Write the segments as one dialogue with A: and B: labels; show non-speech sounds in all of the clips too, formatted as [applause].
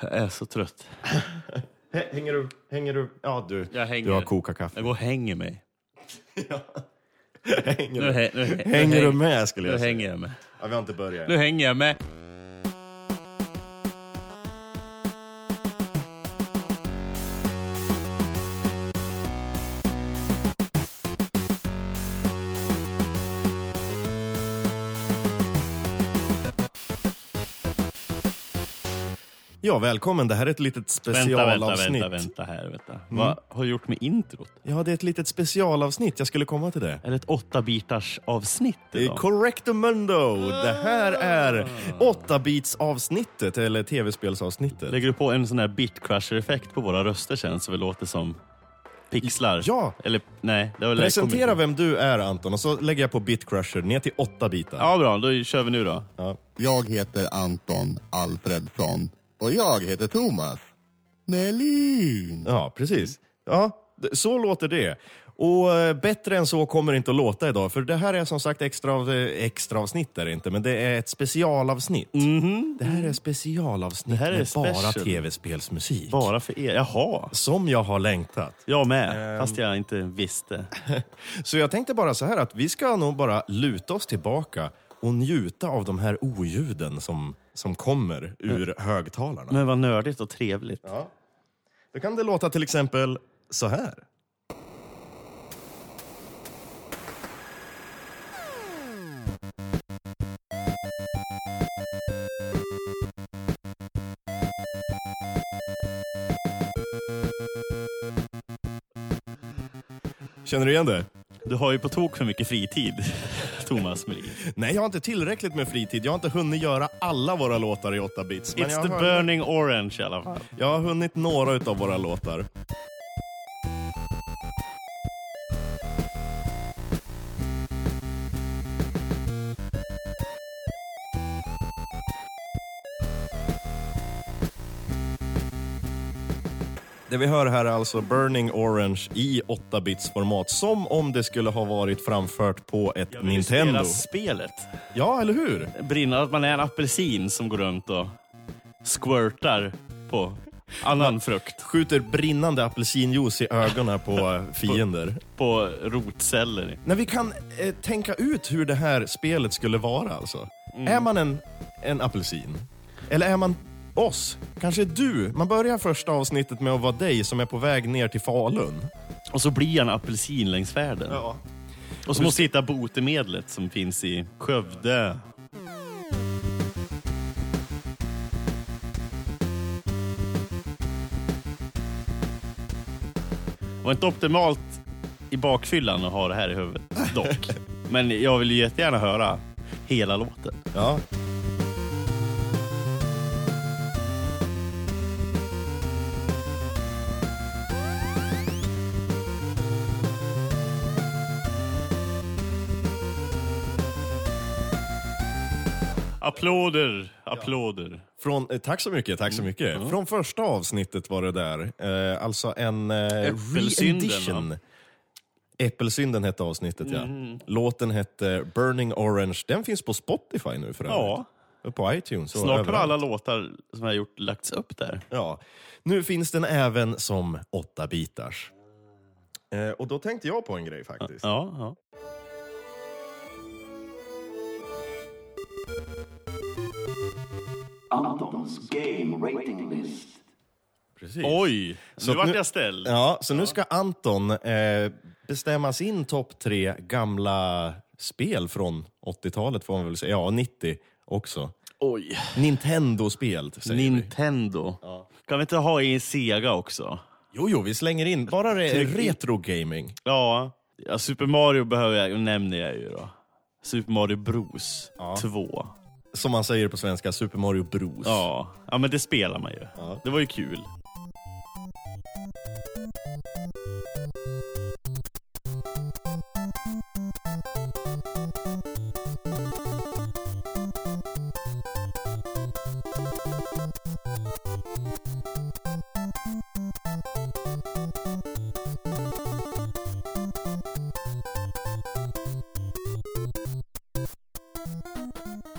A: Jag är så trött.
B: Hä- Hänger du? Hänger du? Ja, du.
A: Jag hänger.
B: Du har kokat kaffe.
A: Jag går och hänger mig. [laughs]
B: Hänger
A: Nu,
B: du?
A: hä- nu, hä- nu
B: Hänger du
A: häng-
B: med skulle
A: Nu
B: jag säga.
A: hänger jag med.
B: Ja, vi har inte börjat.
A: Nu hänger jag med.
B: Ja, välkommen. Det här är ett litet
A: Vänta, vänta,
B: specialavsnitt. Mm.
A: vänta, vänta här. Vänta. Vad har du gjort med introt?
B: Ja, det är ett litet specialavsnitt. Jag skulle komma till det.
A: Är det ett åtta bitars avsnitt
B: Det är
A: idag?
B: Correctamundo! Det här
A: Ah.
B: är 8-bits-avsnittet, eller tv-spelsavsnittet.
A: Lägger du på en sån här bitcrusher-effekt på våra röster sen så vi låter som pixlar?
B: Ja.
A: Eller nej, det har väl
B: Presentera
A: kommit-
B: vem du är Anton, och så lägger jag på Bitcrusher ner till 8 bitar.
A: Ja, bra. Då kör vi nu då.
B: Ja.
C: Jag heter Anton Alfredsson och jag heter Thomas Melin.
B: Ja, precis. Ja, d- så låter det. Och eh, bättre än så kommer det inte att låta idag, för det här är som sagt extra, av- eh, extra avsnitt är det inte, men det är ett specialavsnitt. Det här är specialavsnitt
A: Mm-hmm. här är
B: med bara
A: special.
B: tv-spelsmusik.
A: Bara för er. Jaha.
B: Som jag har längtat.
A: Jag med,
B: Ehm.
A: fast jag inte visste.
B: Så jag tänkte bara så här att vi ska nog bara luta oss tillbaka och njuta av de här oljuden som, som kommer ur högtalarna.
A: Men vad nördigt och trevligt.
B: Ja. Då kan det låta till exempel så här. Känner du igen det?
A: Du har ju på tok för mycket fritid, [laughs] Thomas Melin.
B: Nej, jag har inte tillräckligt med fritid. Jag har inte hunnit göra alla våra låtar i 8 bits. men
A: It's
B: jag
A: the
B: har-
A: burning orange i alla fall.
B: Jag har hunnit några utav våra låtar. Det vi hör här är alltså Burning Orange i 8-bits format, som om det skulle ha varit framfört på ett
A: Jag vill ju spela
B: Nintendo.
A: spelet.
B: Ja, eller hur?
A: Brinna att man är en apelsin som går runt och squirtar på annan frukt.
B: Skjuter brinnande apelsinjuice i ögonen på eh, fiender.
A: På rotceller.
B: När vi kan eh, tänka ut hur det här spelet skulle vara alltså.
A: Mm.
B: Är man en, en apelsin? Eller är man oss? Kanske du? Man börjar första avsnittet med att vara dig som är på väg ner till Falun.
A: Och så blir han apelsin längs färden. Och så måste vi hitta botemedlet som finns i Skövde. Det var inte optimalt i bakfyllan att ha det här i huvudet
B: [laughs]
A: dock. Men jag vill ju jättegärna höra hela låten.
B: Ja.
A: Applåder, applåder.
B: Från, eh, tack så mycket, tack så
A: Mm.
B: mycket. Från första avsnittet var det där. Eh, alltså en eh,
A: Äppelsynden,
B: re-edition. Äppelsynden hette avsnittet,
A: Mhm.
B: ja. Låten hette Burning Orange. Den finns på Spotify nu för
A: Ja.
B: övrigt. Och på iTunes. och
A: Snart har
B: överallt.
A: alla låtar som jag har gjort lagts upp där.
B: Ja. Nu finns den även som 8-bitars. Eh, och då tänkte jag på en grej faktiskt.
A: Ja, ja.
D: Anton's game rating list.
B: Precis.
A: Oj,
B: Så
A: nu
B: att
A: vart
B: nu-
A: jag ställd.
B: Ja, så nu ska Anton eh, bestämma sin topp tre gamla spel från 80-talet får man väl säga. Ja, 90 också.
A: Oj.
B: Nintendo-spel säger vi.
A: Nintendo. Kan vi inte ha i Sega också?
B: Jo, jo, vi slänger in. Bara re-
A: Typ
B: retro-gaming.
A: Ja. ja, Super Mario behöver jag, nämner jag ju då. Super Mario Bros 2.
B: Som man säger på svenska, Super Mario Bros.
A: Ja. ja, men det spelar man ju.
B: Ja.
A: Det var ju kul.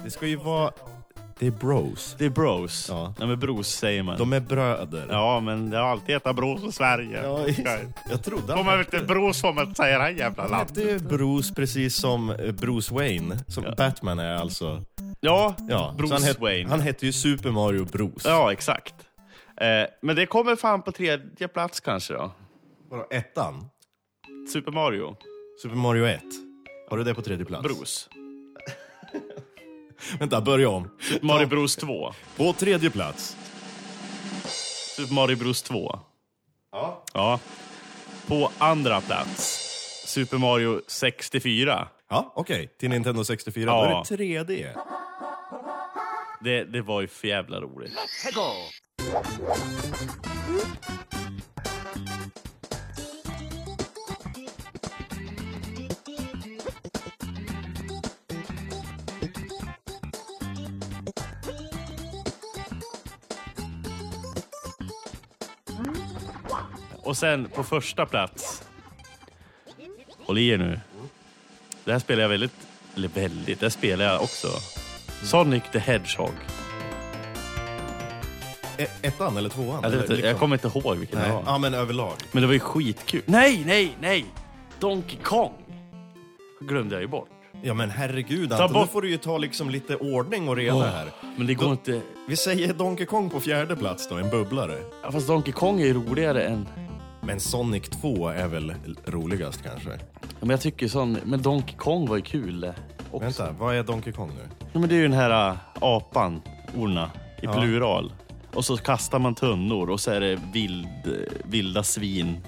B: Det ska ju vara Det är bros.
A: Det är bros.
B: Ja.
A: Nej, men bros säger man.
B: De är bröder.
A: Ja, men det har alltid hetat bros i Sverige.
B: Ja,
A: Okej.
B: jag trodde
A: De är
B: han
A: inte bros om att säga det här jävla landet.
B: hette Bruce precis som eh, Bruce Wayne. Som Batman är alltså.
A: Ja,
B: Ja, så
A: Bruce
B: han het-
A: Wayne.
B: Han hette ju Super Mario Bruce.
A: Ja, exakt. Eh, men det kommer fan på tredje plats kanske då.
B: Bara ettan.
A: Super Mario.
B: Super Mario 1. Har du det på tredje plats?
A: Bros.
B: Vänta, börja om.
A: Super Mario Bros 2.
B: På tredje plats.
A: Super Mario Bros 2.
B: Ja.
A: Ja. På andra plats, Super Mario 64.
B: Ja, okej. Till Nintendo 64.
A: Ja.
B: Då är det 3D.
A: Det, det var ju för jävla roligt. Och sen på första plats. Håll i er nu. Det här spelar jag väldigt... Eller väldigt, det här spelar jag också. Sonic the Hedgehog.
B: E- ettan eller tvåan?
A: Jag,
B: eller
A: vet, inte,
B: liksom-
A: Eh, jag kommer inte ihåg vilken
B: Nej.
A: det
B: Ja.
A: var.
B: men överlag.
A: Men det var ju skitkul. Nej, nej, nej! Donkey Kong! glömde jag ju bort.
B: Ja men herregud Anton,
A: bort-
B: nu får du ju ta liksom lite ordning och reda här.
A: Men det går inte...
B: Vi säger Donkey Kong på fjärde plats då, en bubblare.
A: Ja, Fast Donkey Kong är ju roligare än...
B: Men Sonic 2 är väl roligast kanske?
A: Ja, Men jag tycker sån... Men Donkey Kong var ju kul. eh, Också.
B: Vänta, vad är Donkey Kong nu?
A: Ja, men det är ju den här äh, apan, orna, i
B: Ja.
A: plural. Och så kastar man tunnor och så är det vild, eh, vilda svin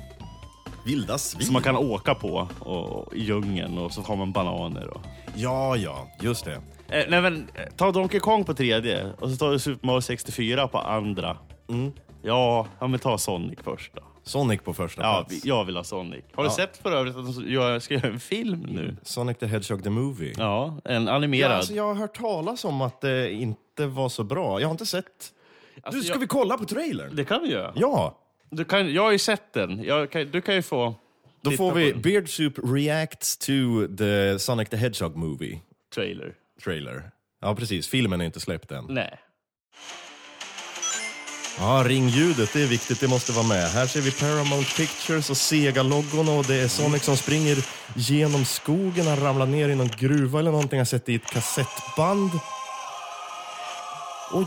B: Vilda svin.
A: som man kan åka på och, och, i djungeln och så har man bananer. Och...
B: Ja, ja, just det.
A: Eh, nej, men, eh, ta Donkey Kong på tredje och så tar du Super Mario 64 på andra. Mm. Ja, ja, men ta Sonic först då.
B: Sonic på första
A: Ja,
B: plats.
A: vi- jag vill ha Sonic. Har du
B: Ja.
A: sett för övrigt att de ska göra- ska göra en film nu?
B: Sonic the Hedgehog the Movie.
A: Ja, en
B: Ja,
A: animerad.
B: alltså, jag har hört talas om att det inte var så bra. Jag har inte sett...
A: Alltså,
B: du, ska
A: jag-
B: vi kolla på trailern?
A: Det kan vi göra.
B: Ja!
A: Du kan, jag har ju sett den. Jag kan, du kan ju få...
B: Då
A: titta
B: får
A: på
B: vi
A: den.
B: Beard Soup reacts to the Sonic the Hedgehog Movie
A: Trailer.
B: trailer. Ja, precis. Filmen är inte släppt än.
A: Nej.
B: Ja, ringljudet, det är viktigt, det måste vara med. Här ser vi Paramount Pictures och Sega-loggorna och det är Sonic som springer genom skogen, han ramlar ner i någon gruva eller någonting, han sätter i ett kassettband. Oj,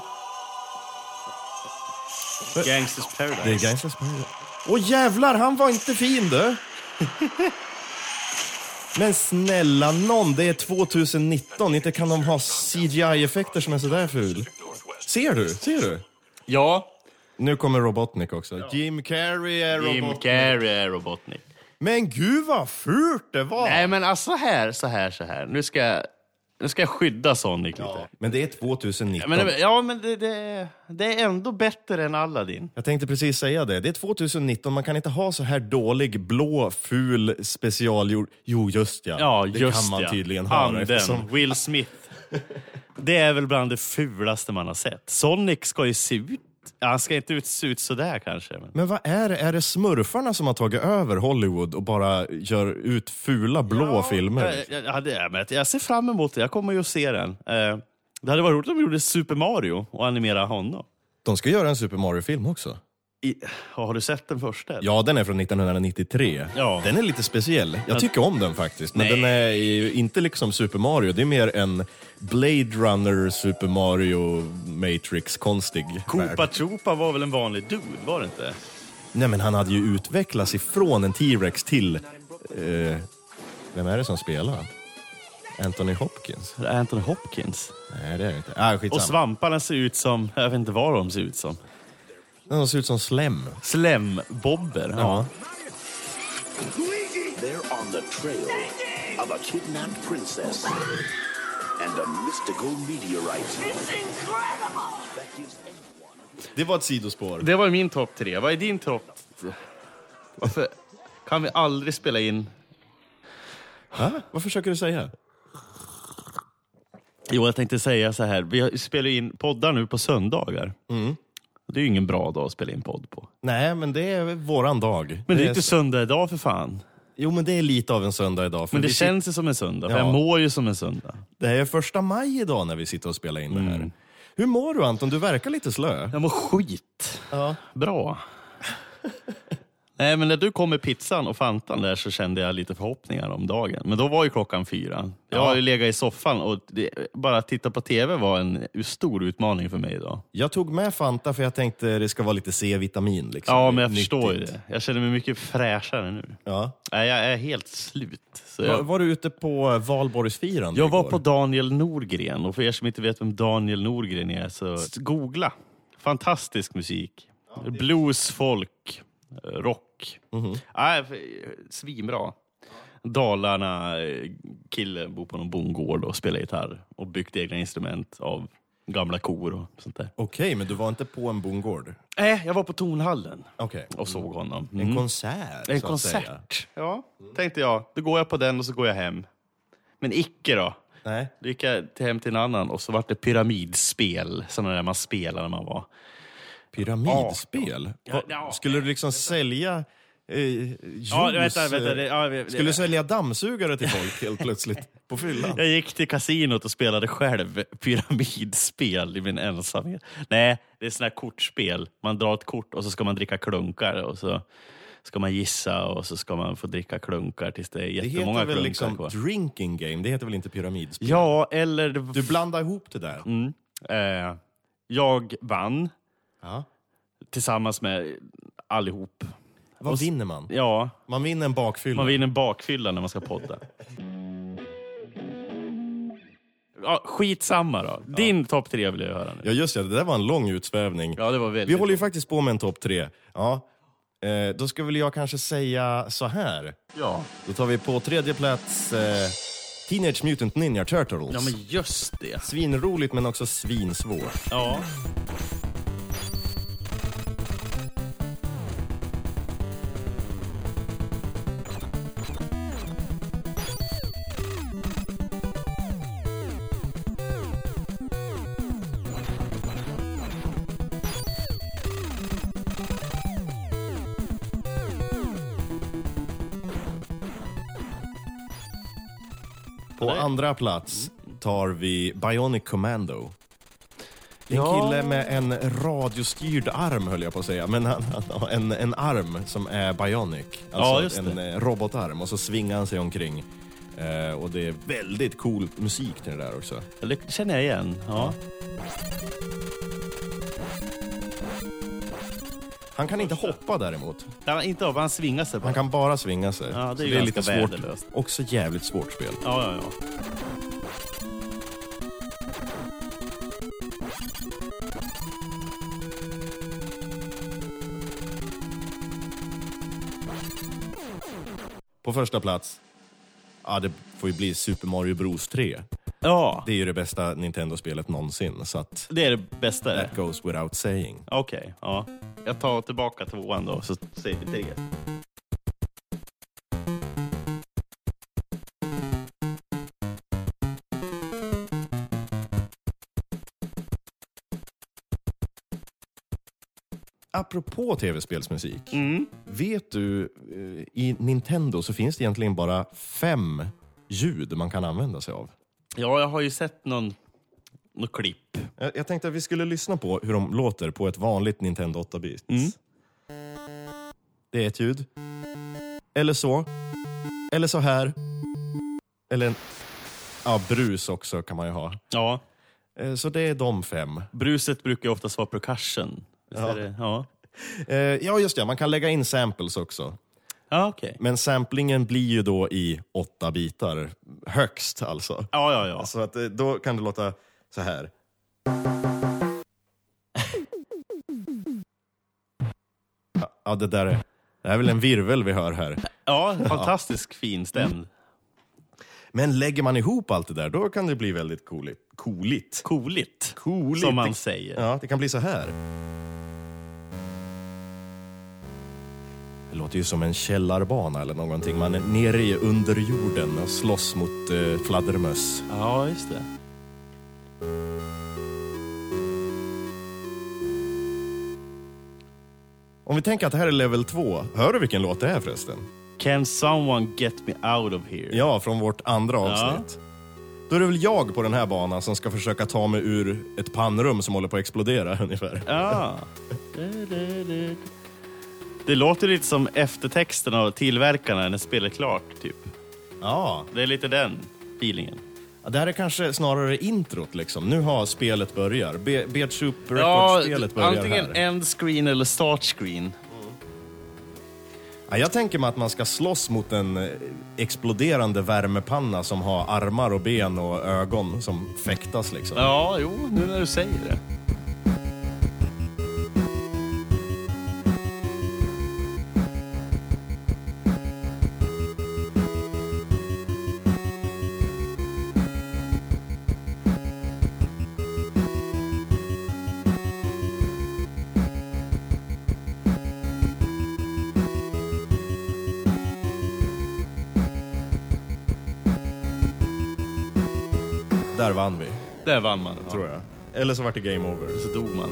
A: Gangsters Paradise.
B: det är Gangsters Paradise. Åh jävlar, han var inte fin du! [laughs] Men snälla nån, det är 2019, inte kan de ha CGI-effekter som är sådär ful. Ser du? Ser du?
A: ja.
B: Nu kommer Robotnik också. Jim Carrey är
A: Jim
B: Robotnik.
A: Carrey är Robotnik.
B: Men gud vad fult det var!
A: Nej, men alltså så här, så här, så här. Nu ska, jag- nu ska jag skydda Sonic lite.
B: Men det är 2019.
A: Men, ja, men det, det, det är ändå bättre än Aladdin.
B: Jag tänkte precis säga det. Det är 2019, man kan inte ha så här dålig, blå, ful specialgjord... Jo, just ja.
A: Ja,
B: det
A: just
B: kan man
A: ja.
B: tydligen ha.
A: Anden,
B: Eftersom...
A: Will Smith. Det är väl bland det fulaste man har sett. Sonic ska ju se ut... ja, Han ska inte ut, se ut sådär kanske. Men...
B: Men vad är det? Är det smurfarna som har tagit över Hollywood och bara gör ut fula, blå filmer?
A: Jag, jag, ja, det är, men jag ser fram emot det. Jag kommer ju att se den. Eh, det hade varit roligt om de gjorde Super Mario och animerade honom.
B: De ska göra en Super Mario-film också.
A: I, ja, har du sett den första? eller?
B: Ja, den är från 1993.
A: Ja.
B: Den är lite speciell. Jag tycker om den faktiskt. Men
A: Nej.
B: den är ju inte liksom Super Mario. Det är mer en Blade Runner, Super Mario, Matrix-konstig
A: Koopa Troopa var väl en vanlig dude, var det inte?
B: Nej, men han hade ju utvecklats ifrån en T-Rex till... Eh, vem är det som spelar? Anthony Hopkins?
A: Det är Anthony Hopkins.
B: Nej, det är det inte. Ah,
A: Och
B: skitsamma.
A: svamparna ser ut som... Jag vet inte vad de ser ut som.
B: De ser ut som slem.
A: Slembobber.
B: Ja.
D: They're on the trail of a kidnapped princess and a mystical meteorite
E: It's incredible!
D: that gives everyone
B: Det var ett sidospår.
A: Det var min topp tre. Vad är din topp? Varför kan vi aldrig spela in?
B: Va? Vad försöker du säga?
A: Jo, jag tänkte säga så här. Vi spelar ju in poddar nu på söndagar. Det är ju ingen bra dag att spela in podd på.
B: Nej, men det är våran dag.
A: Men det är ju
B: är
A: inte söndag idag för fan.
B: Jo, men det är lite av en söndag idag. För
A: Men det
B: vi
A: känns ju som en söndag. För
B: Ja.
A: jag mår ju som en söndag. Mm.
B: Det här är första maj idag när vi sitter och spelar in det här. Hur mår du Anton? Du verkar lite slö.
A: Jag mår skit.
B: Ja.
A: Bra. Nej, men när du kom med pizzan och Fantan där så kände jag lite förhoppningar om dagen. Men då var ju klockan fyra. Jag har ju legat i soffan och det, bara att titta på tv var en stor utmaning för mig idag.
B: Jag tog med Fanta för jag tänkte det ska vara lite C-vitamin. Liksom.
A: Ja, men jag
B: Nyttigt.
A: förstår ju det. Jag känner mig mycket fräschare nu.
B: Ja.
A: Nej, jag är helt slut. Så
B: Var,
A: jag,
B: var du ute på valborgsfirande
A: jag var
B: igår?
A: på Daniel Norgren och för er som inte vet vem Daniel Norgren är så googla. Fantastisk musik. Blues, folk, eh, rock. Nej, för- svinbra. Dalarna eh, kille bor på någon bondgård och spelar gitarr och byggt egna instrument av gamla kor och sånt där.
B: Okej, men du var inte på en bondgård?
A: Nej, Eh, jag var på Tornhallen
B: Okej.
A: och såg honom. Mm.
B: En konsert,
A: En
B: så att säga.
A: konsert. Ja, tänkte jag. Då går jag på den och så går jag hem. Men icke då.
B: Nej.
A: Då gick jag till- hem till en annan och så vart det pyramidspel. Sådana där man spelar när man var...
B: Pyramidspel?
A: Ja,
B: Va-
A: ja.
B: Skulle du liksom sälja eh, juice? eh,
A: vänta, vänta, det- ja, det-
B: Skulle du sälja dammsugare till folk helt plötsligt på fyllan?
A: Jag gick till kasinot och spelade själv [laughs] pyramidspel i min ensamhet. Nej, det är sådana här kortspel. Man drar ett kort och så ska man dricka klunkar och så ska man gissa och så ska man få dricka klunkar tills det är
B: Det
A: jättemånga
B: heter
A: klunkar
B: väl liksom
A: kvar.
B: drinking game? Det heter väl inte pyramidspel?
A: Ja, eller... det-
B: Du blandar ihop det där?
A: Mm. Eh, jag vann.
B: Ja.
A: tillsammans med allihop.
B: Vad vinner man?
A: Ja,
B: Man vinner en bakfylla.
A: man vinner en bakfylla när man ska podda. Ja, skitsamma då. Din topp tre vill jag höra nu.
B: Ja, just det. Det där var en lång utsvävning.
A: Ja, det var väldigt...
B: Vi håller ju faktiskt på med en topp tre. Ja. Eh, då ska väl jag kanske säga så här.
A: Ja.
B: Då tar vi på tredje plats eh, Teenage Mutant Ninja Turtles.
A: ja, men just det.
B: Svinroligt men också svinsvårt.
A: Ja.
B: På andra plats tar vi Bionic Commando. En
A: Ja.
B: kille med en radiostyrd arm höll jag på att säga. Men han, han har en, en arm som är Bionic. Alltså
A: just
B: en eh, robotarm och så svingar han sig omkring. Eh, och det är väldigt cool musik till det där också.
A: Det känner jag igen. Ja.
B: Han kan inte hoppa däremot.
A: Nej, inte av, han svingar sig bara.
B: Han kan bara svinga sig.
A: Ja, det är
B: Så
A: ju ganska väderlöst.
B: Också jävligt svårt spel.
A: Ja, ja, ja.
B: På första plats, ja det får ju bli Super Mario Bros 3.
A: Ja,
B: Det är ju det bästa Nintendo-spelet någonsin, så att
A: det är det bästa. det.
B: that goes without saying.
A: Okej, ja. Jag tar tillbaka tvåan då, så säger vi tre.
B: Apropå tv-spelsmusik, vet du, eh, i Nintendo så finns det egentligen bara fem ljud man kan använda sig av.
A: Ja, jag har ju sett någon, någon klipp.
B: Jag, jag tänkte att vi skulle lyssna på hur de låter på ett vanligt Nintendo 8-bit. Det är ett ljud. Eller så. Eller så här. Eller en... Ja, brus också kan man ju ha.
A: Ja.
B: Eh, Så det är de fem.
A: Bruset brukar ju oftast vara percussion. Visst är det? Ja,
B: Eh, Ja, just det. Man kan lägga in samples också.
A: ja okej.
B: Men samplingen blir ju då i åtta bitar. Högst alltså.
A: Ja, ja, ja.
B: Så att eh, då kan det låta så här. Ja, det där är, det här är väl en virvel vi hör här.
A: ja fantastisk fin stämd.
B: Men lägger man ihop allt det där, då kan det bli väldigt cooligt. Cooligt?
A: Cooligt,
B: Cooligt.
A: som man säger.
B: Ja, det kan bli så här. Det låter ju som en källarbana eller någonting. Man är nere i under jorden och slåss mot eh, fladdermöss.
A: Ja, just det.
B: Om vi tänker att det här är level 2, hör du vilken låt det är förresten?
A: Can someone get me out of here?
B: Ja, från vårt andra avsnitt. Då är det väl jag på den här banan som ska försöka ta mig ur ett pannrum som håller på att explodera [laughs] ungefär.
A: Ja. Det låter lite som eftertexten av tillverkarna när spelet är klart. Typ.
B: Ja,
A: Det är lite den feelingen.
B: Ja, det här är kanske snarare introt liksom. Nu har spelet börjar. Be- Beat Soup Records-spelet börjar
A: antingen
B: här.
A: end screen eller start screen.
B: Ja, jag tänker mig att man ska slåss mot en eh, exploderande värmepanna som har armar och ben och ögon som fäktas liksom.
A: Ja, jo, nu när du säger det.
B: Där vann vi,
A: Där vann man, tror
B: tror jag. Eller så vart det game over.
A: jag. Så dog man.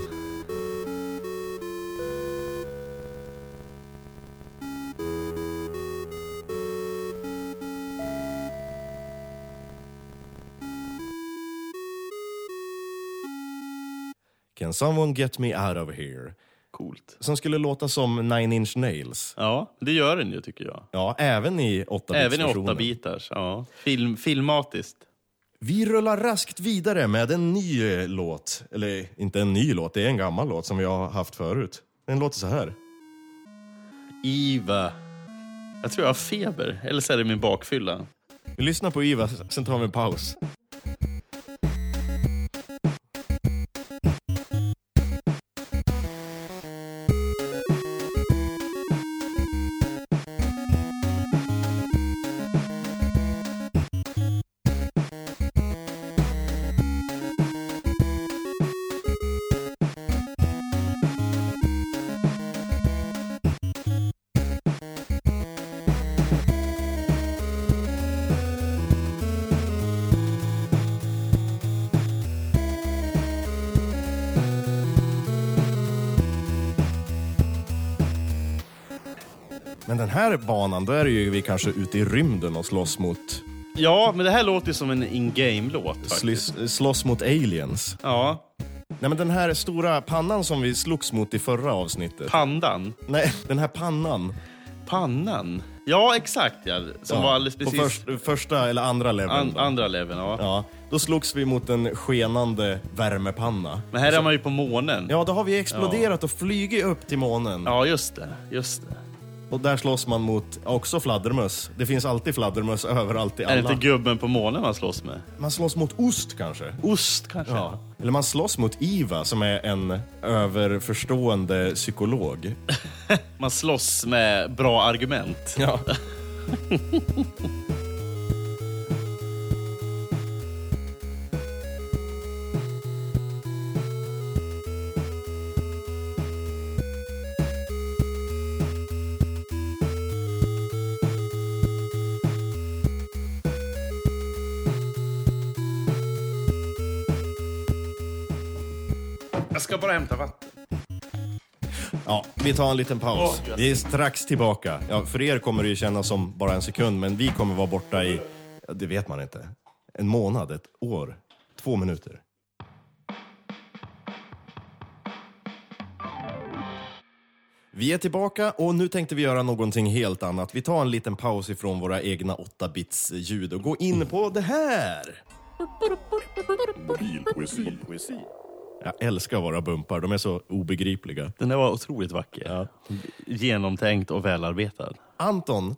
B: Can someone get me out of here?
A: Coolt.
B: Som skulle låta som Nine Inch Nails.
A: Ja, det gör den ju tycker jag.
B: Ja, även i 8
A: Även i 8 bitars ja. Film, Filmatiskt.
B: Vi rullar raskt vidare med en ny eh, låt. Eller inte en ny låt, det är en gammal låt som vi har haft förut. Den låter så här.
A: Iva. Jag tror jag har feber, eller så är det min bakfylla.
B: Vi lyssnar på Iva, sen tar vi en paus. Men den här banan, då är det ju vi kanske ute i rymden och slåss mot,
A: Ja, men det här låter ju som en in-game-låt. faktiskt.
B: slys, slåss mot aliens.
A: Ja,
B: Nej men den här stora pannan som vi slogs mot i förra avsnittet.
A: pandan.
B: Nej, den här pannan.
A: Pannan? Ja, exakt ja. Som var alldeles
B: på
A: precis
B: först, första eller andra leveln.
A: an, andra leveln. Ja.
B: Ja, då slogs vi mot en skenande värmepanna.
A: Men här är man ju på månen. Ja,
B: Ja, då har vi exploderat och flugit upp till månen.
A: just det. Just det.
B: Och där slåss man mot också fladdermöss. Det finns alltid fladdermöss överallt i
A: Är det
B: alla.
A: inte gubben på månen man slåss med?
B: Man slåss mot ost kanske.
A: Ost kanske?
B: Ja. Eller man slåss mot IVA som är en överförstående psykolog.
A: Man slåss med bra argument.
B: Ja.
A: [laughs] Jag ska bara hämta vatten.
B: ja, vi tar en liten paus.
A: Åh, gött.
B: Vi är strax tillbaka. Ja, för er kommer det ju kännas som bara en sekund, men vi kommer vara borta i, ja, det vet man inte, en månad, ett år, två minuter. Vi är tillbaka och nu tänkte vi göra någonting helt annat. Vi tar en liten paus ifrån våra egna 8-bits ljud och går in på det här. Jag älskar våra bumpar, de är så obegripliga.
A: Den där var otroligt vacker. Genomtänkt och välarbetad.
B: Anton,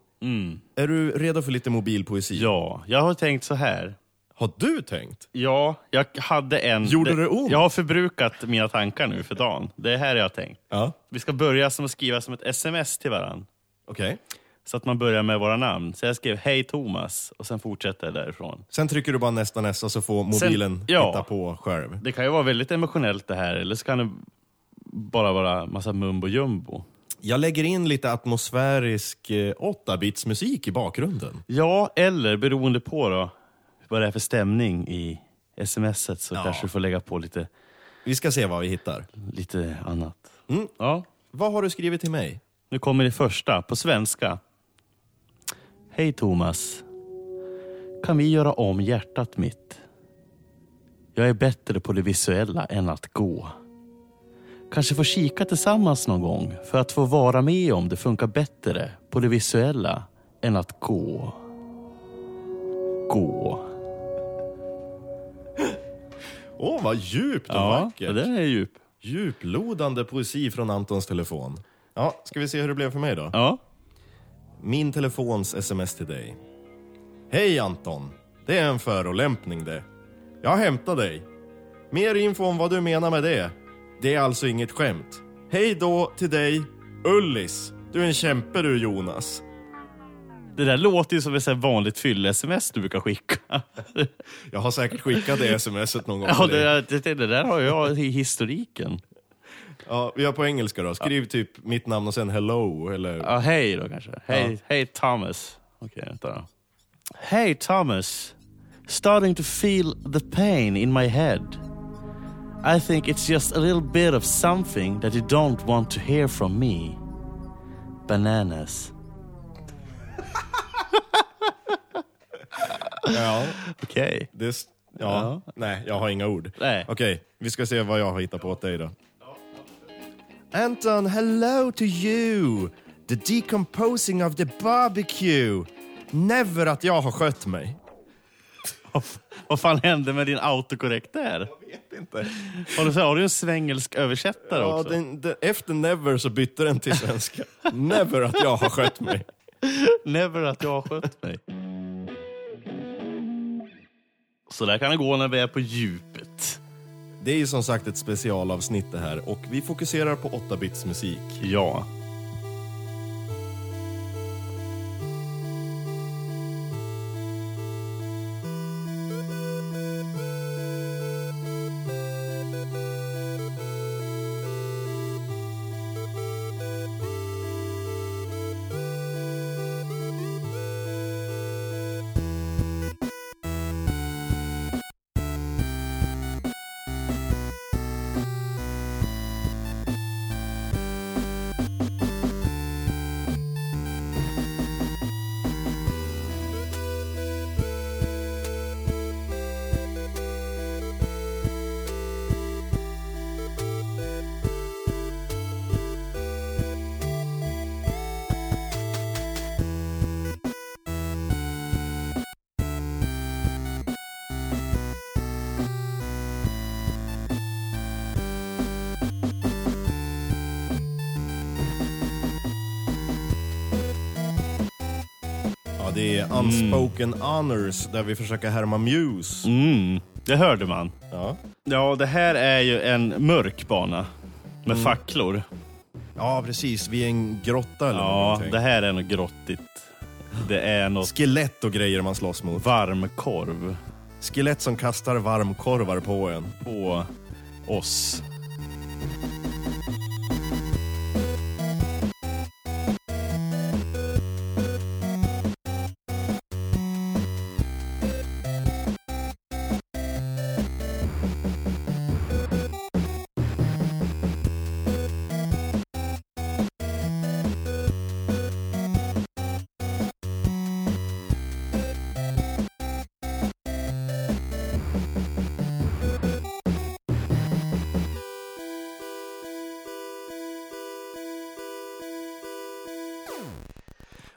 B: är du redo för lite mobilpoesi?
A: Ja, jag har tänkt så här.
B: Har du tänkt?
A: Ja, jag hade en...
B: Gjorde det ont?
A: Jag har förbrukat mina tankar nu för dagen. Det är här jag har tänkt.
B: Ja.
A: Vi ska börja som att skriva som ett sms till varandra.
B: Okej.
A: Så att man börjar med våra namn. Så jag skrev hej Thomas och sen fortsätter jag därifrån.
B: Sen trycker du bara nästa, nästa så får mobilen
A: Sen- ja.
B: hitta på själv.
A: Det kan ju vara väldigt emotionellt det här eller så kan det bara vara massa mumbo jumbo.
B: Jag lägger in lite atmosfärisk eh, 8-bits musik i bakgrunden.
A: Ja, eller beroende på då vad det är för stämning i smset så kanske du får lägga på lite,
B: Vi ska se vad vi hittar.
A: lite annat.
B: Mm.
A: Ja,
B: Vad har du skrivit till mig?
A: nu kommer det första på svenska. Hej Thomas. kan vi göra om hjärtat mitt. Jag är bättre på det visuella än att gå. Kanske får kika tillsammans någon gång för att få vara med om det funkar bättre på det visuella än att gå. Gå.
B: Åh, vad djupt och
A: Ja,
B: vackert.
A: den är djup.
B: Djuplodande poesi från Antons telefon. Ja, ska vi se hur det blev för mig då?
A: Ja.
B: Min telefons sms till dig. Hej Anton! Det är en förolämpning det. Jag hämtar dig. Mer info om vad du menar med det. Det är alltså inget skämt. Hej då till dig, Ullis. Du är en kämpe du Jonas.
A: Det där låter ju som ett så här vanligt fylle-sms du brukar skicka.
B: Jag har säkert skickat det smset någon
A: [laughs]
B: gång
A: Ja,
B: till
A: det,
B: dig.
A: där- det, det där har jag i historiken.
B: Ja, vi har på engelska då. Skriv typ mitt namn och sen hello eller...
A: Ja, hej då kanske. Hej, hej Thomas. Okej, vänta. Hej Thomas. Starting to feel the pain in my head. I think it's just a little bit of something that you don't want to hear from me. Bananas.
B: Ja.
A: Okej.
B: Det s- ja. Nej, jag har inga ord.
A: Nej.
B: Okej, vi ska se vad jag har hittat på åt dig då. Anton, hello to you! The decomposing of the barbecue! Never att jag har skött mig.
A: Vad fan hände med din autokorrekt där?
B: Vet inte.
A: Har du, har du en svängelsk översättare
B: Ja,
A: också?
B: den, den, efter never så bytte den till
A: [laughs]
B: svenska. never att jag har skött mig.
A: Never att jag har skött mig. Så där kan det gå när vi är på djupet.
B: Det är ju som sagt ett specialavsnitt det här och vi fokuserar på 8-bits musik.
A: Ja.
B: Ja, det
A: Mm.
B: är Unspoken Honors där vi försöker härma Muse.
A: Mm, det hörde man.
B: Ja.
A: Ja, det här är ju en mörk bana med facklor.
B: Ja, precis. Vid en grotta eller
A: Ja,
B: någonting.
A: det här är något grottigt. Det är något
B: Skelett och grejer man slåss mot.
A: varmkorv
B: Skelett som kastar varmkorvar på en.
A: på oss.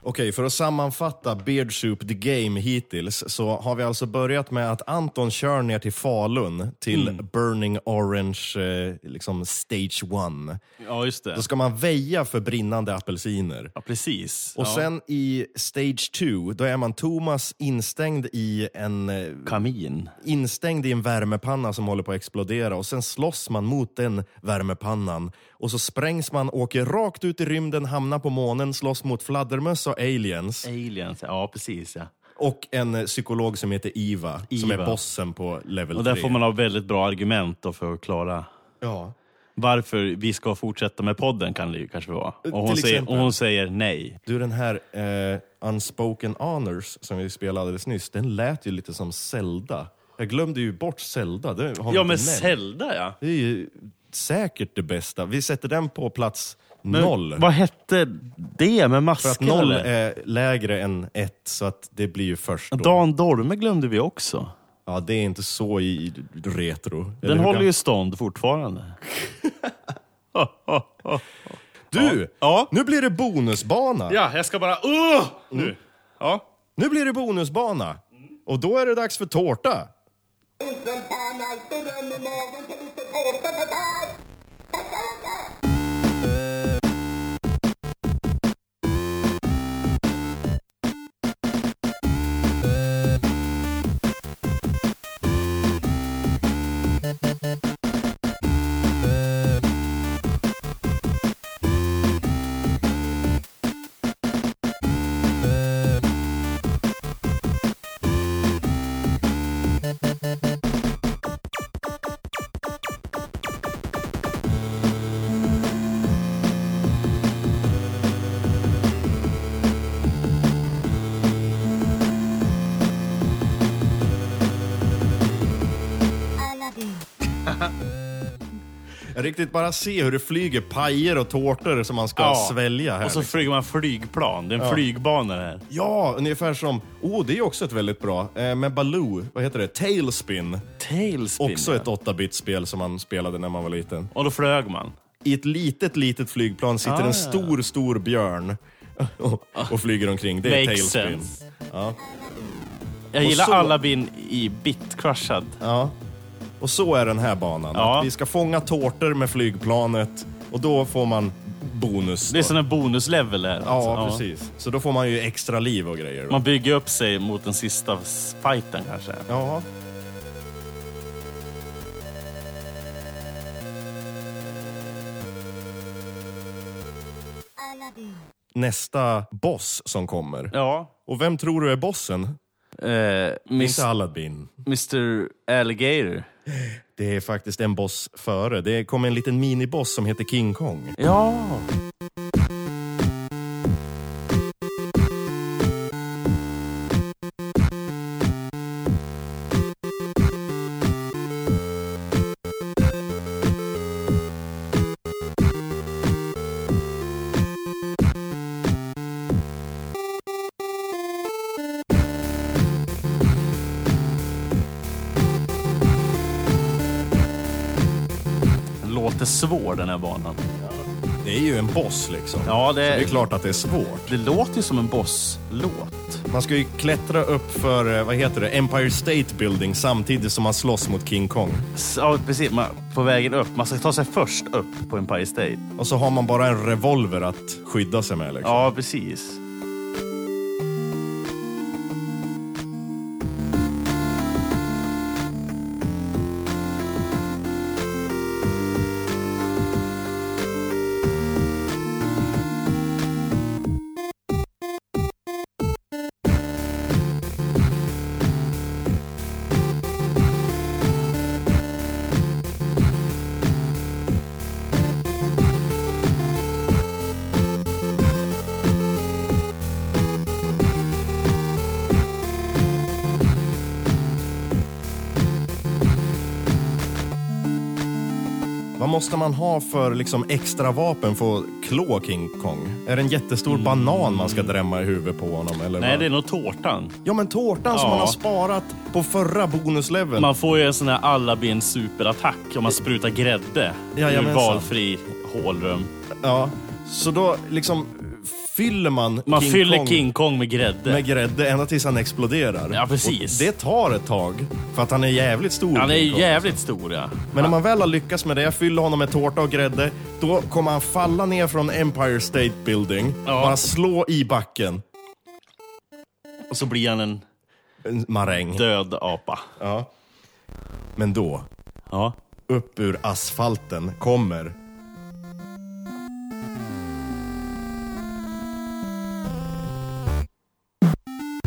B: Okej, för att sammanfatta Beard Soup the Game hittills så har vi alltså börjat med att Anton kör ner till Falun till
A: Mm.
B: Burning Orange, eh, liksom stage one.
A: Ja, just det.
B: Då ska man väja för brinnande apelsiner.
A: Ja, precis.
B: Och
A: ja.
B: sen i stage two, då är man Thomas instängd i en eh,
A: kamin.
B: instängd i en värmepanna som håller på att explodera och sen slåss man mot den värmepannan och så sprängs man, åker rakt ut i rymden, hamnar på månen, slåss mot fladdermöss och aliens
A: Aliens, ja precis ja.
B: och en eh, psykolog som heter Iva, som
A: Iva.
B: är bossen på level
A: Och där
B: 3.
A: får man ha väldigt bra argument då för att klara
B: Ja.
A: varför vi ska fortsätta med podden kan det ju kanske vara. Och hon,
B: till
A: säger,
B: exempel.
A: och hon säger nej.
B: Du, den här eh, Unspoken Honors som vi spelade alldeles nyss, den lät ju lite som Zelda. Jag glömde ju bort Zelda. Det har vi
A: Ja
B: inte
A: men
B: nämnt.
A: Zelda ja.
B: Det är ju säkert det bästa. Vi sätter den på plats
A: Men
B: noll.
A: Vad hette det med
B: För att
A: masken?
B: noll
A: eller?
B: är lägre än ett, så att det blir ju först då.
A: Dan Dorme glömde vi också.
B: Ja, det är inte så i i retro. Eller
A: Den
B: hur
A: håller
B: gam-
A: ju stånd fortfarande.
B: Du!
A: Ja.
B: Nu blir det bonusbana!
A: Ja, jag ska bara... Uh! Nu. Ja.
B: Nu blir det bonusbana! Och då är det dags för tårta! Jag riktigt bara se hur det flyger pajer och tårtor som man ska svälja här.
A: Och så flyger man flygplan. Det är en flygbana det här.
B: Ja, ungefär som... Oh, det är också ett väldigt bra. Eh, med Baloo, vad heter det? Tailspin.
A: Tailspin.
B: Också ett 8-bit-spel som man spelade när man var liten.
A: Och då flög man.
B: I ett litet, litet flygplan sitter
A: Ah.
B: en stor, stor björn [laughs] och, och flyger omkring. Det är
A: Makes
B: Tailspin.
A: sense. Jag gillar
B: så-
A: Aladdin i bitcrushad.
B: Och så är den här banan.
A: Ja.
B: Att vi ska fånga tårtor med flygplanet och då får man bonus.
A: Det är
B: då.
A: sån här bonuslevel där. alltså.
B: ja, precis. Så då får man ju extra liv och grejer. då.
A: Man bygger upp sig mot den sista s- fighten kanske.
B: Ja. Nästa boss som kommer.
A: Ja.
B: Och vem tror du är bossen?
A: Eh, mis-
B: Inte Aladdin.
A: Mr Alligator.
B: Det är faktiskt en boss före. Det kommer en liten miniboss som heter King Kong.
A: Ja. Den låter svår den här banan.
B: Det är ju en boss liksom.
A: Ja, det-
B: Så det är klart att det är svårt.
A: Det låter ju som en bosslåt.
B: Man ska ju klättra upp för, eh, vad heter det, Empire State Building samtidigt som man slåss mot King Kong.
A: S- Ja, precis. Man, på vägen upp. Man ska ta sig först upp på Empire State.
B: Och så har man bara en revolver att skydda sig med. Liksom.
A: Ja, precis.
B: Vad måste man ha för liksom, extra vapen för att klå King Kong? Är det en jättestor banan man ska drämma i huvudet på honom? Eller
A: Mm. Nej,
B: vad?
A: det är nog tårtan.
B: Ja, men tårtan som
A: Ja.
B: man har sparat på förra bonusleveln.
A: Man får ju en sån här Aladdin superattack om man sprutar grädde ur
B: Jajamensan.
A: valfri hålrum.
B: Ja. Så då liksom fyller man
A: Man
B: King
A: fyller
B: Kong
A: King Kong med grädde.
B: med grädde ända tills han exploderar.
A: Ja, precis.
B: Och det tar ett tag, för att han är jävligt stor.
A: Han är
B: King
A: ju
B: Kong.
A: jävligt stor, ja.
B: Men om man väl har lyckats med det, fyller honom med tårta och grädde, då kommer han falla ner från Empire State Building,
A: Ja.
B: bara slå i backen.
A: Och så blir han en
B: En Maräng.
A: död apa.
B: Men då,
A: Ja.
B: upp ur asfalten kommer...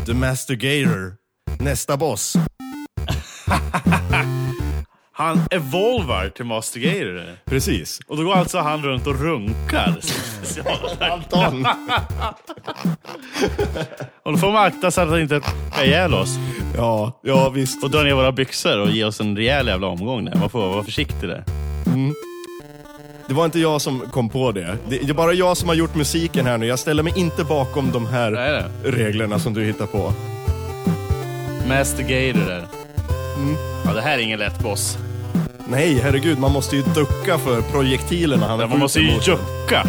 B: The Master Gator. Nästa boss.
A: Han evolvar till Master Gator.
B: Precis.
A: Och då går alltså han runt och runkar.
B: Anton.
A: Och då får man akta så att han inte är ihjäl oss.
B: Ja, ja visst.
A: Och drar ner våra byxor och ger oss en rejäl jävla omgång där. Man får vara försiktig där.
B: Det var inte jag som kom på det. Det det är bara jag som har gjort musiken här nu. Jag ställer mig inte bakom de här
A: Nej, nej.
B: reglerna som du hittar på.
A: Master Gator där. Ja, det här är ingen lätt boss.
B: Nej, herregud, man måste ju ducka för projektilerna han
A: Man måste ju
B: skjuter mot en.
A: jucka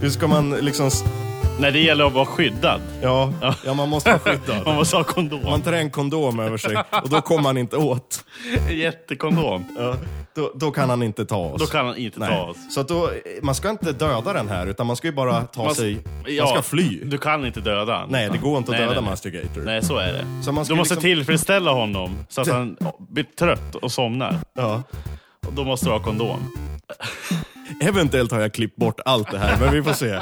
B: Hur ska man liksom... s-
A: när det gäller att vara skyddad.
B: Ja, ja man måste
A: [laughs]
B: vara skyddad.
A: Man måste ha kondom.
B: Man tar en kondom över sig och då kommer han inte åt.
A: Jättekondom.
B: Ja, då, då kan han inte ta oss.
A: Då kan han inte ta oss.
B: Så att då, man ska inte döda den här, utan man ska ju bara ta
A: Man-
B: sig...
A: ja,
B: man ska fly.
A: Du kan inte döda han.
B: Nej, det går inte att
A: Nej,
B: döda
A: nej, nej.
B: Master Gator.
A: Nej, så är det.
B: Typ. Så man
A: du
B: ska
A: måste
B: liksom-
A: tillfredsställa honom så att han blir trött och somnar.
B: Ja.
A: Och då måste du ha kondom.
B: Eventuellt har jag klippt bort allt det här, men vi får se.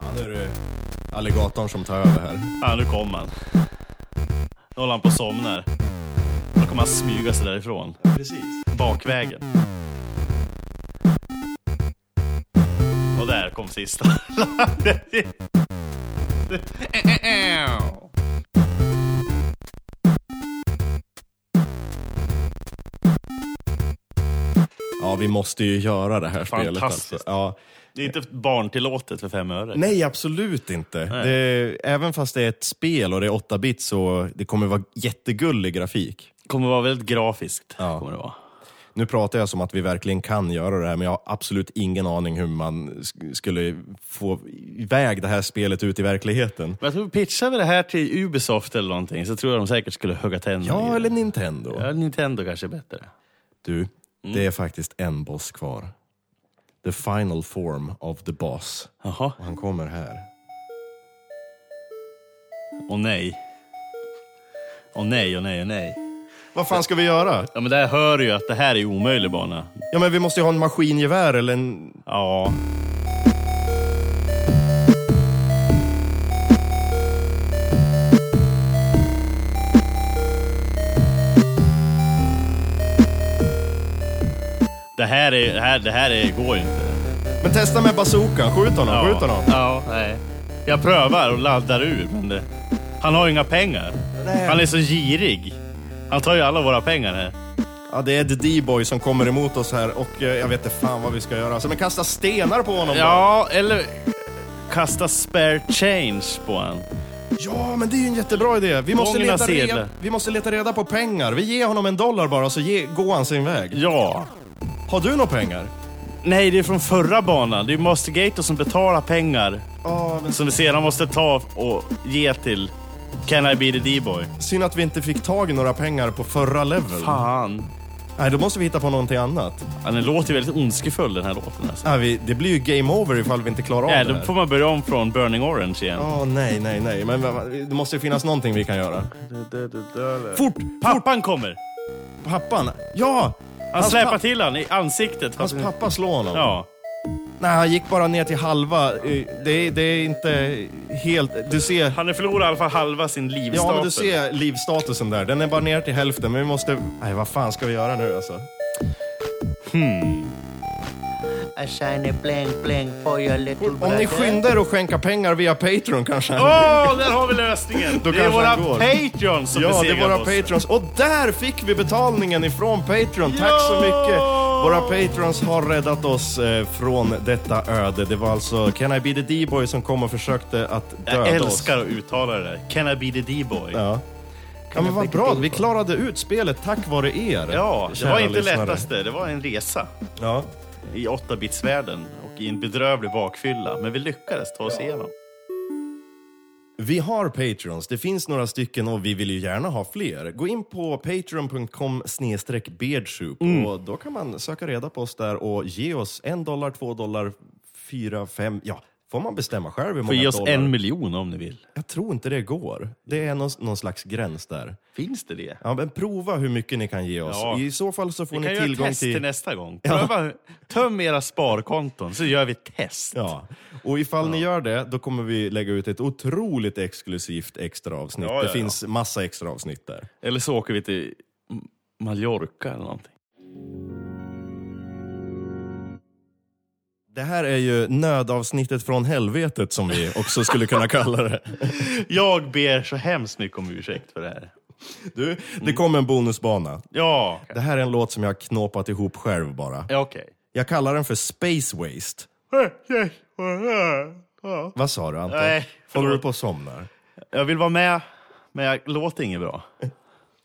B: Ja, nu är det alligatorn som tar över här.
A: Ja, nu kom han. Nu håller han på och somnar. Då kommer han smyga sig därifrån.
B: Precis.
A: Bakvägen. Och där kom sista. [laughs]
B: Ja, vi måste ju göra det här spelet.
A: Fantastiskt.
B: Alltså. Ja.
A: Det är inte barntillåtet för fem öre.
B: Nej, absolut inte.
A: Nej.
B: Det, även fast det är ett spel och det är 8 bit så det kommer vara jättegullig grafik.
A: Det kommer vara väldigt grafiskt.
B: Ja.
A: Kommer det vara.
B: Nu pratar jag som att vi verkligen kan göra det här, men jag har absolut ingen aning hur man sk- skulle få iväg det här spelet ut i verkligheten.
A: Men jag tror pitchar vi det här till Ubisoft eller någonting så tror jag de säkert skulle hugga tänderna i
B: Ja,
A: det.
B: eller Nintendo.
A: Ja, Mm. Nintendo kanske är bättre.
B: Du, det är faktiskt en boss kvar. The final form of the boss.
A: Jaha.
B: Och han kommer här.
A: Och nej. Och nej, och nej, och nej.
B: Vad fan ska vi göra?
A: Ja, men där hör du ju att det här är omöjlig bana.
B: Ja, men vi måste ju ha en maskingevär eller en...
A: Ja. Det här, är, det, här, det här är, går ju inte.
B: Men testa med bazookan, skjut honom,
A: Ja.
B: skjut honom.
A: Ja, nej. Jag prövar och laddar ur, men det, han har ju inga pengar. Han är så girig. Han tar ju alla våra pengar här.
B: Ja, det är The D-boy som kommer emot oss här och eh, jag vet inte fan vad vi ska göra. Så men kasta stenar på honom då.
A: Ja, eller kasta spare change på han.
B: ja, men det är ju en jättebra idé. Vi måste,
A: Gångerna
B: leta reda,
A: sedlar.
B: vi måste leta reda på pengar. Vi ger honom en dollar bara så ge, går han sin väg.
A: Ja.
B: Har du några pengar?
A: Nej, det är från förra banan. Det är Master Gator som betalar pengar
B: Ja, men
A: som vi sedan måste ta och ge till Can I be the D-boy?
B: synd att vi inte fick tag i några pengar på förra level.
A: Fan.
B: Nej, då måste vi hitta på någonting annat.
A: Ja, den låter ju väldigt ondskefull den här låten. Alltså.
B: Nej, vi, det blir ju game over ifall vi inte klarar av
A: Ja,
B: det
A: då
B: här.
A: får man börja om från Burning Orange igen.
B: Ja, nej, nej, nej. Men va- va- det måste ju finnas någonting vi kan göra.
A: Fort! Pappan kommer!
B: Pappan? Ja!
A: Han släpar
B: pa-
A: till han i ansiktet.
B: Hans pappa slår honom.
A: Ja.
B: Nej, han gick bara ner till halva. Eh, Det, är- det är inte helt... Du ser...
A: Han förlorar i alla fall halva sin livstapel.
B: Ja, men du ser livstatusen där. Den är bara ner till hälften, men vi måste... Nej, vad fan ska vi göra nu alltså?
E: I shine a bling bling for your little
B: Om
E: brother.
B: ni skyndar er och skänka pengar via Patreon kanske.
A: Åh, där har vi lösningen!
B: Då
A: det är
B: kanske
A: våra
B: han går.
A: patreons som
B: Ja, det är
A: besegrar
B: våra
A: oss.
B: patrons. Och där fick vi betalningen ifrån Patreon. Tack så
A: Ja!
B: mycket. Våra patrons har räddat oss eh, från detta öde. Det var alltså Can I Be The D-Boy som kom och försökte att döda
A: Jag
B: oss.
A: älskar att uttala det där. Can I be the D-boy? Ja,
B: Ja. ja, men vad bra. Vi klarade ut spelet tack vare er.
A: det
B: kära
A: var inte
B: lyssnare.
A: lättaste. Det var en resa
B: Ja.
A: i 8-bitsvärlden och i en bedrövlig bakfylla. Men vi lyckades ta oss igenom.
B: Vi har Patreons, det finns några stycken och vi vill ju gärna ha fler. Gå in på patreon.com beardsoup
A: Mm.
B: och då kan man söka reda på oss där och ge oss en dollar, två dollar, fyra, fem, ja Får man bestämma själv hur
A: Får
B: många
A: ge oss
B: dollar?
A: en miljon om ni vill.
B: Jag tror inte det går. Det är någon, någon slags gräns där.
A: Finns det det?
B: Ja, men prova hur mycket ni kan ge oss.
A: Ja.
B: I så fall så får
A: Vi
B: ni
A: kan göra
B: tillgång
A: test till...
B: till...
A: nästa gång. Pröva, töm era sparkonton så gör vi ett test.
B: Ja, och ifall ni gör det, då kommer vi lägga ut ett otroligt exklusivt extra avsnitt.
A: Ja, ja,
B: det
A: ja.
B: finns massa extra avsnitt där.
A: Eller så åker vi till M- Mallorca eller någonting.
B: Det här är ju nödavsnittet från helvetet som vi också
A: [laughs]
B: skulle kunna kalla det.
A: Jag ber så hemskt mycket om ursäkt för det här.
B: Du,
A: Mm.
B: det kom en bonusbana.
A: Ja,
B: Det här är en låt som jag har knåpat ihop själv bara.
A: ja okej.
B: Jag kallar den för Space Waste. Vad sa du Anton?
A: Nej,
B: Håller
A: förlåt.
B: du på att somna?
A: Jag vill vara med, men jag låter inget bra.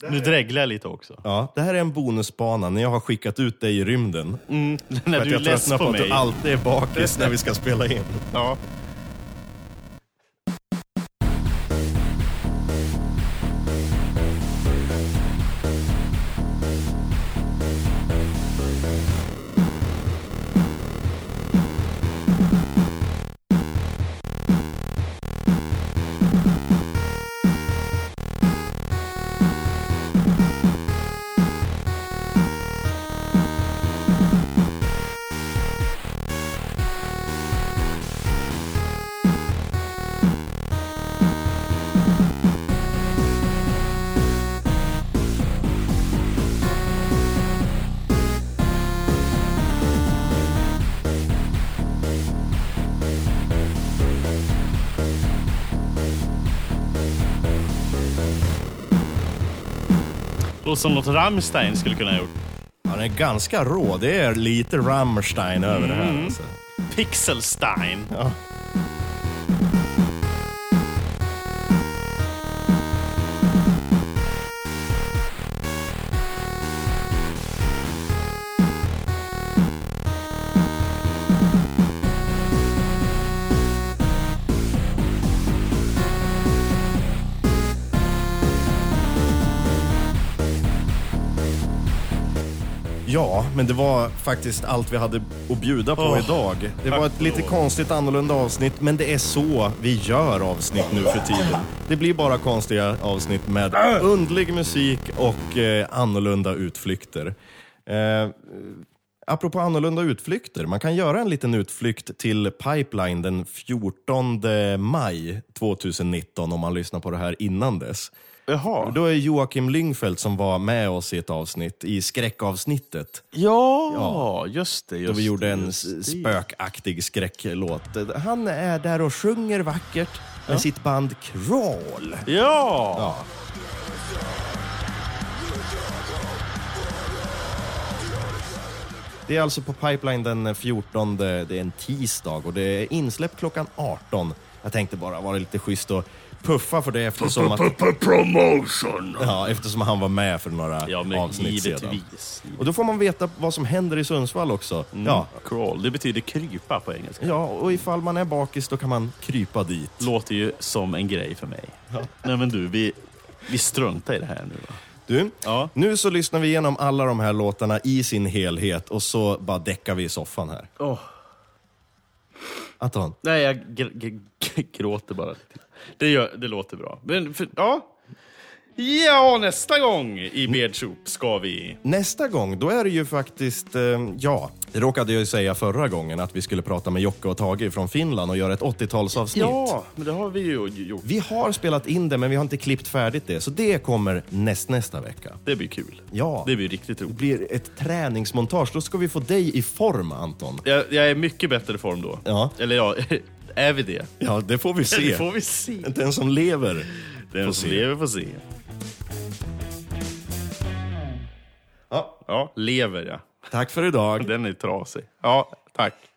A: Nu dreglar jag lite också.
B: Ja, det här är en bonusbana när jag har skickat ut dig i rymden.
A: När
B: För att
A: du är
B: jag
A: less
B: tröttnar
A: på,
B: på, att
A: mig.
B: du alltid är bakis när vi ska
A: [laughs]
B: spela in.
A: Ja. Låter som något Rammstein skulle kunna ha gjort.
B: Ja, den är ganska rå. Det är lite Rammstein över det
A: Mm.
B: här. Alltså.
A: Pixelstein.
B: Ja, men det var faktiskt allt vi hade att bjuda på
A: Åh,
B: idag. Det
A: tack
B: var ett
A: och
B: lite
A: lov.
B: konstigt annorlunda avsnitt, men det är så vi gör avsnitt nu för tiden. Det blir bara konstiga avsnitt med underlig musik och eh, annorlunda utflykter. Eh, apropå annorlunda utflykter, man kan göra en liten utflykt till Pipeline den 14 maj 2019 om man lyssnar på det här innan dess.
A: Jaha.
B: Då är Joakim Lyngfeldt som var med oss i ett avsnitt, i skräckavsnittet.
A: Ja, just det. Just
B: Då vi gjorde en
A: just det.
B: s- spökaktig skräcklåt. Han är där och sjunger vackert med sitt band Crawl.
A: Ja!
B: Det är alltså på Pipeline den 14, det är en tisdag och det är insläpp klockan 18. Jag tänkte bara vara lite schysst och puffa för det eftersom, att,
D: Promotion.
B: ja, eftersom han var med för några
A: Ja, men
B: avsnitt sedan.
A: givetvis.
B: Och då får man veta vad som händer i Sundsvall också.
A: Mm.
B: Ja,
A: Crawl, det betyder krypa på engelska.
B: ja, och ifall man är bakis då kan man krypa dit.
A: Låter ju som en grej för mig. Nej men du, vi, vi struntar i det här nu va?
B: Du,
A: Ja.
B: nu så lyssnar vi igenom alla de här låtarna i sin helhet och så bara däckar vi i soffan här.
A: Åh.
B: Anton,
A: Nej, jag gr- gr- gr- gråter bara. Det, gör, det låter bra. Men för, ja. Ja, nästa gång i Bedshop ska vi...
B: nästa gång då är det ju faktiskt, eh, ja, det råkade jag ju säga förra gången att vi skulle prata med Jocke och Tage från Finland och göra ett 80-talsavsnitt.
A: Ja, men det har vi ju gjort.
B: Vi har spelat in det men vi har inte klippt färdigt det, så det kommer näst, nästa vecka.
A: Det blir kul.
B: Ja,
A: Det blir riktigt roligt.
B: blir ett träningsmontage. Då ska vi få dig i form, Anton.
A: Jag, jag är i mycket bättre form då.
B: Ja.
A: Eller ja, [laughs] är vi det?
B: Ja, det får vi
A: Det
B: se.
A: får vi se.
B: Den som lever. får
A: Den som
B: se.
A: lever får se.
B: Ja,
A: Ja, lever ja.
B: tack för idag.
A: Den är trasig. Ja, tack.